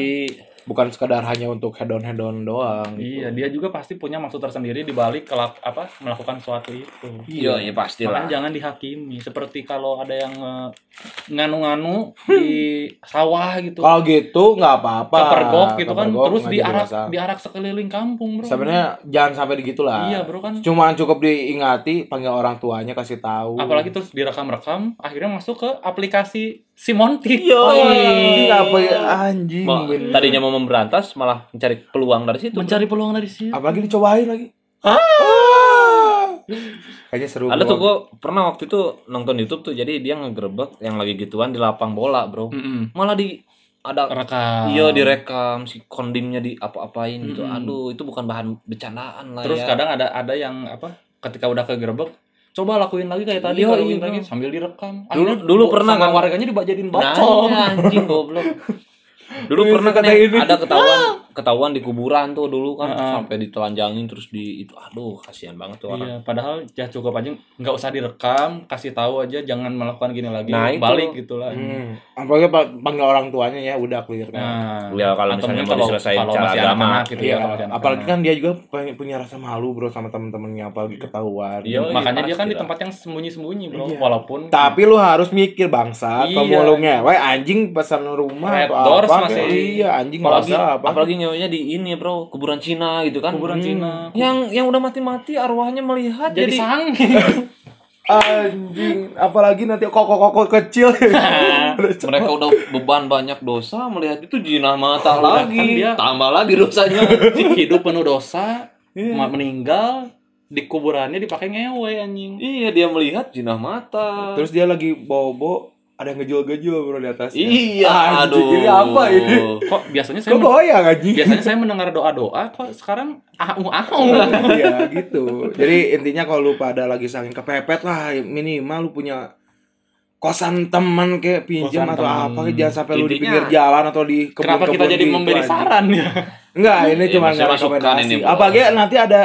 bukan sekadar hanya untuk hedon hedon doang gitu.
iya dia juga pasti punya maksud tersendiri di balik kelak apa melakukan suatu itu
Iya, iya pastilah.
Makanya jangan dihakimi seperti kalau ada yang eh, nganu-nganu di sawah gitu
kalau gitu nggak apa-apa
kepergok gitu kan
Kepergok
terus
nggak jadi
diarak
masalah.
diarak sekeliling kampung bro
sebenarnya jangan sampai digitulah
iya bro kan
cuman cukup diingati panggil orang tuanya kasih tahu
apalagi terus direkam-rekam akhirnya masuk ke aplikasi Simonti
Iya.
Oh, anjing, apa ya? anjing
Mau-
bener.
tadinya mau memberantas malah mencari peluang dari situ.
mencari peluang dari sini
apalagi dicobain lagi
Ah.
Ah. kayaknya seru
Ada tuh
banget.
gue pernah waktu itu nonton YouTube tuh jadi dia ngegerebek yang lagi gituan di lapang bola, Bro.
Mm-mm.
Malah di ada
rekam
iya direkam si kondimnya di apa-apain gitu.
Mm-mm.
Aduh, itu bukan bahan bercandaan lah
Hmm. terus
ya.
kadang ada ada yang apa ketika udah kegerebek coba lakuin lagi kayak tadi
Iya,
lakuin
iya,
lagi
bro.
sambil
Dulu-
direkam Akhirnya
dulu
bu-
pernah
sama
kan?
warganya dibajadin
Nah,
bacok
iya, anjing goblok. Dulu
Iya,
pernah kan
kata
yang
ini.
ada ketahuan
Ah.
ketahuan di kuburan tuh dulu kan
Heeh.
sampai ditelanjangin terus di itu aduh kasihan banget tuh orang.
Ah. Iya, padahal ya cukup aja nggak usah direkam, kasih tahu aja jangan melakukan gini lagi,
Nah, itu.
balik gitu gitulah.
Hmm. Apalagi pa- panggil orang tuanya ya udah clear kan.
Nah,
Ya, kalau
atau
misalnya
mungkin
mau diselesain secara
masih
agama.
anak-anak gitu
Iya,
ya, kalau masih anak-anak.
apalagi kan dia juga punya- punya rasa malu bro sama temen-temennya apalagi ketahuan.
Iya.
makanya dia kan
pasti
di
lah.
tempat yang sembunyi-sembunyi, Bro.
Iya.
Walaupun
Tapi lu harus mikir bangsa,
Iya.
kamu lu ngewe anjing pesan rumah
Red Doors
kayak-
masih-
iya anjing
apalagi
masa apa.
apalagi nyonya di ini bro kuburan Cina gitu kan
kuburan
Hmm.
Cina
yang yang udah mati-mati arwahnya melihat
jadi,
jadi,
sange.
anjing apalagi nanti koko-koko kecil.
mereka udah beban banyak dosa melihat itu jinah mata lagi
dia-
tambah lagi dosanya
hidup penuh dosa,
Iya.
ma- meninggal di kuburannya dipakai ngewe anjing.
iya dia melihat jinah mata
Terus dia lagi bobo ada yang ngejol-gejol bro di atasnya.
iya
Anjing,
aduh
Ini apa ini?
Kok biasanya saya Iya.
Kok goyang anjing?
biasanya saya mendengar doa-doa kok sekarang au au.
Iya gitu. Jadi intinya kalau lu pada lagi saking kepepet lah minimal lu punya kosan teman kayak pinjam
Kosan
atau
teman.
apa kayak jangan sampai lu di
Intinya,
pinggir jalan atau di kebun gitu,
Kenapa kita jadi memberi saran ya?
Enggak, ini
Iya,
cuma
maksudnya
nggak
masukan
rekomendasi.
ini, Bro.
Apalagi nanti ada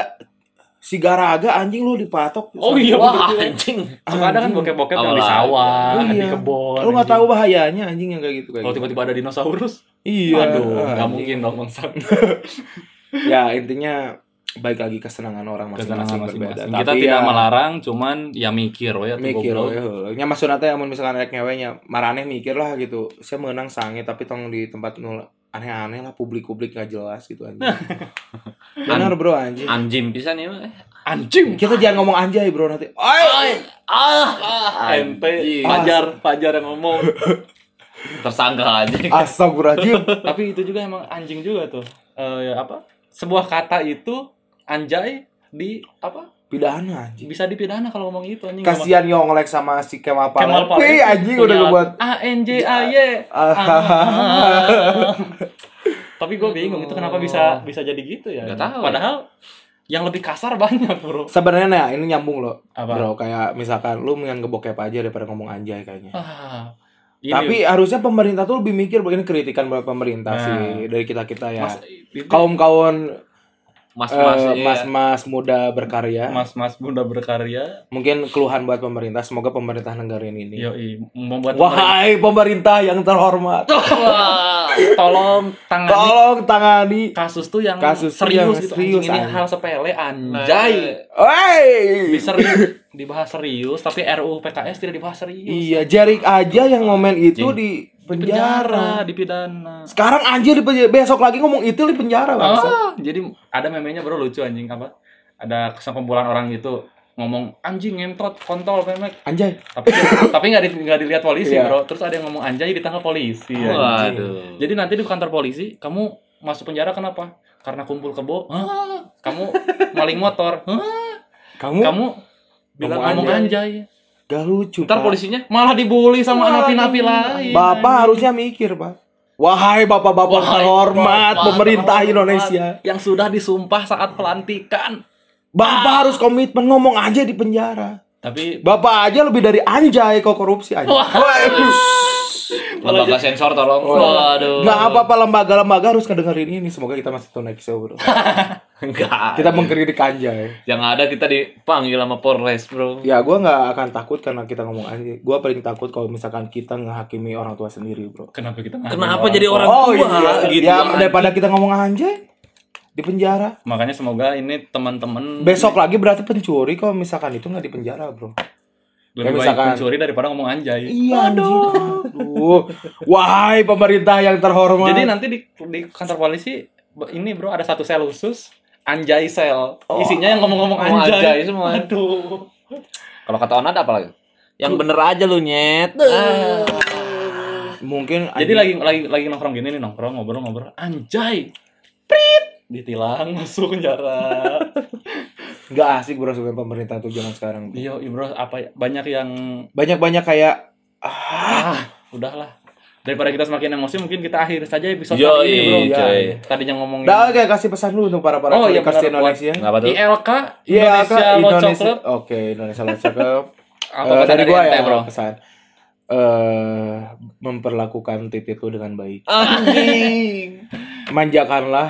si garaga anjing lu dipatok.
Oh iya,
wah
betul.
anjing
Suka ada kan bokep-bokep yang di
Awalnya.
sawah, di
Iya.
kebun.
Lu nggak
anjing.
tahu bahayanya anjing yang kayak gitu kayak.
Kalau
gitu.
tiba-tiba ada dinosaurus,
Iya.
aduh, nggak
anjing.
mungkin dong bangsat.
Ya intinya baik lagi kesenangan orang masing-masing
Kesenangan
berbeda.
masing-masing.
Tapi
Kita tidak
ya,
melarang, cuman ya mikir we atuh
mikir
goblok.
we, nya maksudna teh amun misalkan rek ngewe nya maraneh mikir lah gitu saya menang sange tapi tong di tempat nul aneh-aneh lah publik-publik gak jelas gitu anjing benar bro anjing
anjing pisan ya eh.
Anjing.
kita jangan ngomong anjay bro nanti
Ay, ah, ah,
Ente
anjing.
Fajar, Fajar yang ngomong.
tersangka aja
astagfirullahaladzim
Tapi itu juga emang anjing juga tuh. Eh ya apa? Sebuah kata itu anjay di apa?
pidana anjing
Bisa dipidana kalau ngomong itu anjing.
kasihan Yonglek sama si Kemal
Kemal Iya.
Palepi anjing udah ngebuat
A N J A Y. Ah.
Ah.
Tapi gue bingung itu kenapa bisa bisa jadi gitu ya.
Nggak tahu.
Padahal yang lebih kasar banyak, Bro.
sebenarnya nah, ini nyambung loh
Apa?
bro kayak misalkan lu mendingan ngebokep aja daripada ngomong anjay kayaknya
Ah, ini-
tapi harusnya pemerintah tuh lebih mikir ini kritikan buat pemerintah
Nah.
sih dari kita kita ya
Mas, itu-
kaum-kaum
mas-mas
Eh,
ya.
iya.
mas-mas muda berkarya
mas-mas bunda berkarya,
mungkin keluhan buat pemerintah semoga pemerintah negara ini
yoi membuat
wahai pemerintah yang terhormat
Wah.
pemerintah, tolong tangani
tolong tangani
kasus tuh yang
Kasus tuh
serius,
yang
gitu. anjing,
serius,
ini
anjing.
hal sepele anjay.
Anjay.
Woi
Diserius- dibahas serius, tapi RUU PKS tidak dibahas serius.
iya Jarik aja yang ngomen itu di
Di
penjara
dipidana.
sekarang anjir di penjara. besok lagi ngomong itu di penjara bangsa
Ah, jadi ada memenya bro lucu anjing apa? Ada kesan kumpulan orang gitu ngomong anjing ngentot kontol memek
anjay
tapi tapi nggak di, nggak dilihat polisi
Iya.
bro terus ada yang ngomong anjay ditangkap polisi anjing.
waduh
Jadi nanti di kantor polisi, kamu masuk penjara kenapa? Karena kumpul kebo. Hah? Kamu maling motor. Hah?
kamu,
Kamu bilang
Ngomong
ngomong anjay.
gak lucu
ntar
Pak.
polisinya
Malah dibully sama napi-napi lain.
bapak harusnya mikir pak wahai bapak-bapak
Iya, Wahai
terhormat
bapak
pemerintah
terhormat
Indonesia
yang sudah disumpah saat pelantikan.
bapak harus komitmen ngomong aja di penjara
Tapi
Bapak aja lebih dari anjay kok korupsi aja.
Wah.
Wah, eh,
Lembaga sensor tolong.
Waduh.
Nggak apa-apa lembaga-lembaga harus ngedengerin ini. Semoga kita masih tunai kisah bro.
Enggak.
Kita mengkritik anjay.
Yang ada kita dipanggil sama Polres, Bro.
Ya gue nggak akan takut karena kita ngomong anjay. Gue paling takut kalau misalkan kita ngehakimi orang tua sendiri bro.
Kenapa kita nggak
Kenapa
ada
Nah, jadi orang
oh
tua
iya.
gitu?
ya daripada kita ngomong anjay di penjara.
Makanya semoga ini teman-teman
Besok lagi berarti pencuri kalau misalkan itu nggak di penjara bro.
lebih
Ya,
baik
misalkan-
mencuri daripada ngomong anjay.
Iya aduh. aduh. Wahai pemerintah yang terhormat.
Jadi nanti di, di kantor polisi b- ini bro ada satu sel khusus anjay sel.
Oh.
Isinya yang ngomong-ngomong
Ngomong anjay
anjay.
semua.
Aduh.
Kalau kata Onat apa lagi? Yang bener aja lu nyet. Ah.
mungkin
Jadi
anjing-
lagi lagi lagi nongkrong gini nih nongkrong ngobrol-ngobrol anjay. Prit ditilang masuk penjara.
nggak asik bro sebenarnya pemerintah tuh zaman sekarang. bro.
Iya, iya, bro, apa ya- banyak yang
Banyak-banyak kayak ah,
ah, udahlah. Daripada kita semakin emosi, mungkin kita akhiri saja episode
Yo,
kali ini, bro.
iya,
coy.
Tadinya ngomongin
Dah kayak Nah, kasih pesan dulu untuk para para
Oh, iya,
curikas di
benar, buat-
Indonesia.
Enggak apa tuh?
ILK
Iya,
Indonesia
Kak,
Law
Indonesia-
Club.
Oke, Indonesia Law Club.
Apa
Eh,
pesan
dari
dari
gua
ente,
ya,
bro?
pesan. Eh, memperlakukan titik lu dengan baik.
Anjing.
Manjakanlah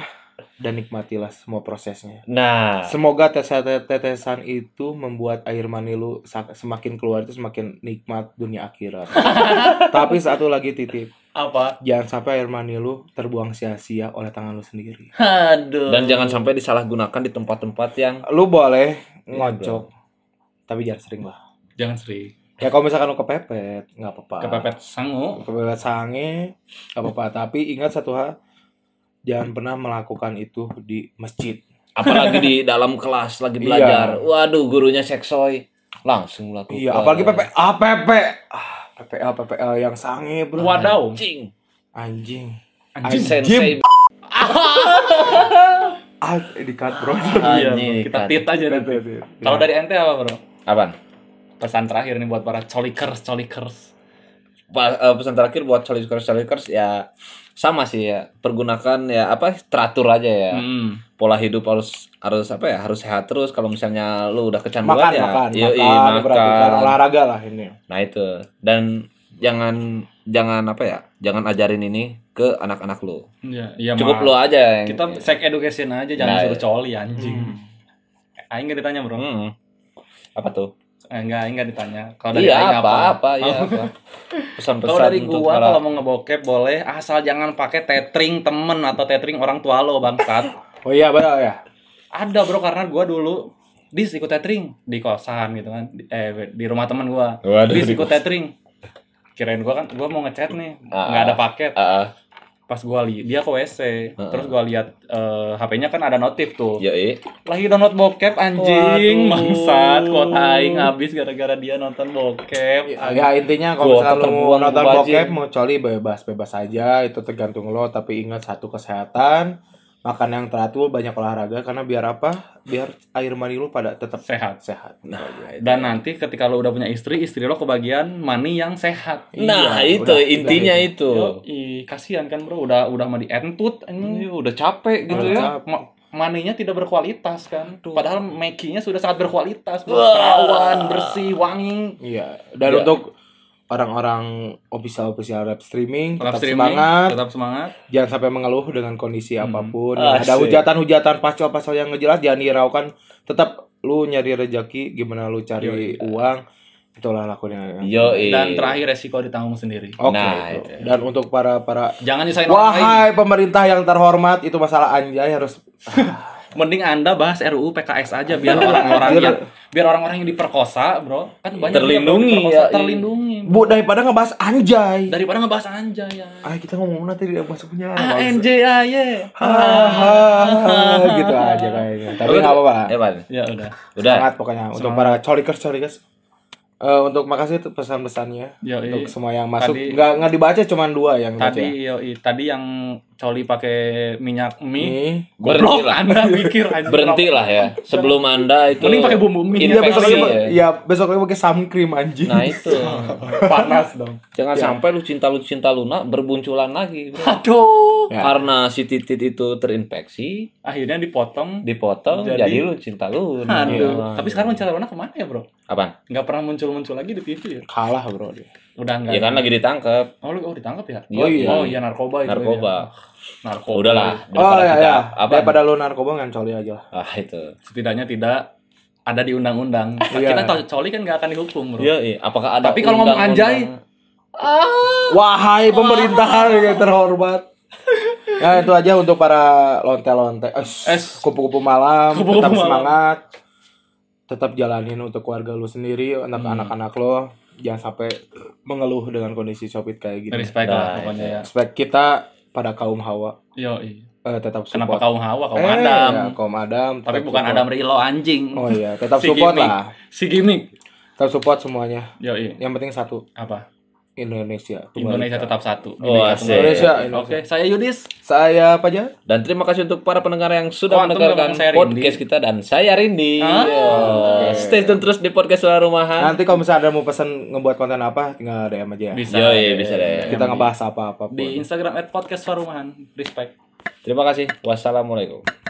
dan nikmatilah semua prosesnya.
Nah,
Semoga tetes- tetesan itu membuat air mani lu sa- semakin keluar itu semakin nikmat dunia akhirat. Tapi satu lagi titip,
Apa?
jangan sampai air mani lu terbuang sia-sia oleh tangan lu sendiri.
Aduh.
dan jangan sampai disalahgunakan di tempat-tempat yang
Lu boleh ngocok, tapi jangan sering lah.
jangan sering
Ya kalau misalkan lu kepepet, nggak apa-apa.
kepepet sangu.
Kepepet sange, nggak apa-apa. Tapi ingat satu hal, jangan pernah melakukan itu di masjid.
apalagi di dalam kelas lagi belajar. Waduh, gurunya seksoy. Langsung lakukan.
Iya, apalagi PP, APP, ah, PPL, PPL yang sange bro.
Wadaw.
Anjing.
Anjing.
Anjing.
Sensei.
Ah, di cut bro. iya,
Iya,
Anjing,
bro. kita
kan.
tit aja nanti. Kalau dari ente apa, bro?
Apaan?
Pesan terakhir nih buat para colikers, colikers.
Pa- eh, pesan terakhir buat Solikers Solikers ya sama sih ya pergunakan ya apa teratur aja ya
Hmm.
pola hidup harus harus apa ya harus sehat terus kalau misalnya lu udah kecanduan
makan,
ya
makan,
yoi,
makan, diperhatikan.
makan.
olahraga lah ini.
nah itu dan jangan jangan apa ya jangan ajarin ini ke anak-anak lu
Iya, iya.
cukup
Ma.
lu aja yang
Kita sex education aja
Nah,
jangan suruh coli anjing. Eh, Aing nggak ditanya, bro.
Hmm. apa tuh
Eh, Enggak, enggak ditanya. Kalau dari Aing
iya
apa? Oh.
apa apa iya apa pesan-pesan
Kalau dari
untuk
gua
para-
kalau mau ngebokep boleh asal jangan pakai tethering temen atau tethering orang tua lo bangsat.
Oh iya, benar ya.
Ada bro karena gua dulu dis ikut tethering di kosan gitu kan Di- eh di rumah temen gua.
Waduh,
dis
di
ikut
kosan.
tethering. Kirain gua kan gua mau ngechat nih,
Ah,
nggak ada
ah.
paket.
Ah, ah.
Pas gua li dia ke WC,
Ah, Iya.
terus gua lihat eh, HP-nya kan ada notif tuh.
Yoi.
Lagi download bokep
Waduh.
anjing, bangsat, kuota aing habis gara-gara dia
Iya,
nonton bokep.
Ya intinya
Gua
kalau misalnya lu
keterbuang,
nonton
gua
bokep
bajing.
mau coli bebas-bebas aja itu tergantung lo tapi ingat satu kesehatan makan yang teratur banyak olahraga karena biar apa biar air mani lu pada tetap
Sehat.
sehat nah,
Dan nanti ketika lo udah punya istri, istri lo kebagian money yang sehat.
nah
Iya,
itu
udah,
intinya
udah
itu
Yoi, kasihan kan bro, udah udah mah dientut ini
Iya, udah capek gitu
Udah
ya
capek.
Ma- maninya tidak berkualitas kan. Padahal makinya sudah sangat berkualitas, bro. Perawan, bersih, wangi.
iya dan
Iya.
untuk orang-orang official official rap streaming
Tetap
tetap,
streaming,
semangat
tetap semangat.
jangan sampai mengeluh dengan kondisi
Hmm.
apapun
Asik.
ada hujatan-hujatan pasal-pasal yang ngejelas jangan dihiraukan tetap lu nyari rejeki gimana lu cari uang itulah lakunya
Yoi.
Dan terakhir resiko ditanggung sendiri.
Oke.
Nah,
itu.
itu.
Dan untuk para para
Jangan nyusahin orang lain.
wahai pemerintah yang terhormat itu masalah anjay harus
Mending Anda bahas RUU PKS aja biar orang-orang yang biar orang-orang yang diperkosa, bro. Kan banyak yang
Terlindungi,
diperkosa,
ya.
terlindungi.
bu daripada ngebahas anjay.
Daripada ngebahas anjay ya.
Ah kita ngomong nanti tidak masuknya.
ANJAY.
Hahaha gitu aja kayaknya. Tapi nggak apa-apa. lah.
Eh, Pan.
Ya udah.
Udah.
Sangat pokoknya untuk para colikers colikers. Eh untuk makasih tuh pesan-pesannya
Yoi.
untuk semua yang masuk
Tadi-
nggak nggak dibaca cuman dua yang
Tadi
dibaca. ya.
yoi, tadi yang coli pakai minyak mie.
ini
Berhenti
Goblok
lah.
Anda mikir anjing.
Berhenti lah ya. Sebelum Anda itu
Mending pakai bumbu mie.
Ini
ya
Iya,
besok
besok lagi
Infeksi,
pa- ya besok lagi pakai sun cream anjing.
Nah, itu.
Iya. panas dong.
Jangan sampai lu cinta lu cinta Luna berbunculan lagi. bro.
Aduh.
Ya.
Karena si titit itu terinfeksi,
Akhirnya dipotong.
dipotong jadi,
Jadi-
lu cinta Luna.
Aduh.
Iya.
Tapi sekarang muncul Luna kemana ya bro?
Apaan?
Nggak pernah muncul-muncul lagi di TV ya?
Kalah bro dia.
Udah enggak.
Ya kan lagi ditangkap
Oh, lu oh, ditangkap ya?
Iya,
oh iya,
iya.
oh, iya narkoba itu.
narkoba.
ya. Narkoba.
Udahlah
Oh
daripada
iya
kita
iya.
apa?
Daripada lu narkoba ngancoli aja lah.
Ah itu.
Setidaknya tidak ada di undang-undang. Nah,
Iya.
Kita tahu coli kan nggak akan dihukum, Bro.
Iya, iya. Apakah ada
Tapi kalau ngomong anjay,
undang-undang-
Wahai pemerintahan yang terhormat. Ya itu aja untuk para lonte-lonte. Eh,
Es.
kupu-kupu malam,
Kupu-kupu
tetap
malam.
semangat. Tetap jalanin untuk keluarga lu sendiri, untuk
Hmm.
anak-anak lo. Jangan sampai mengeluh dengan kondisi covid kayak gini.
Respect
Nah,
lah pokoknya ya.
Respect kita pada kaum Hawa.
Yo, iya.
Eh, tetap
Kenapa
support.
kaum Hawa, kaum
Eh,
Adam?
ya, kaum Adam.
Tapi
tetap
bukan
support.
Adam Rilo anjing.
Oh iya, tetap
Si
support
gimmick.
lah.
Si gimmick.
Tetap support semuanya.
Yo, iya.
Yang penting satu,
Apa?
Indonesia.
Indonesia tetap satu.
Oh,
Bineka
asik.
Tunggal Ika.
Indonesia, Indonesia.
Oke, saya Yudis.
Saya apa aja?
Dan terima kasih untuk para pendengar yang sudah
Kok antum
mendengarkan
nggak ngomong saya
podcast
Rindi?
kita dan saya Rindi.
Ah,
Yo. Stay tune terus di podcast suara rumahan.
Nanti kalau misalnya ada mau pesan ngebuat konten apa, tinggal DM aja. ya.
Bisa.
Yo, iya, bisa deh.
Kita ngebahas apa-apa.
Di Instagram @podcastfarumahan. Respect.
Terima kasih. Wassalamualaikum.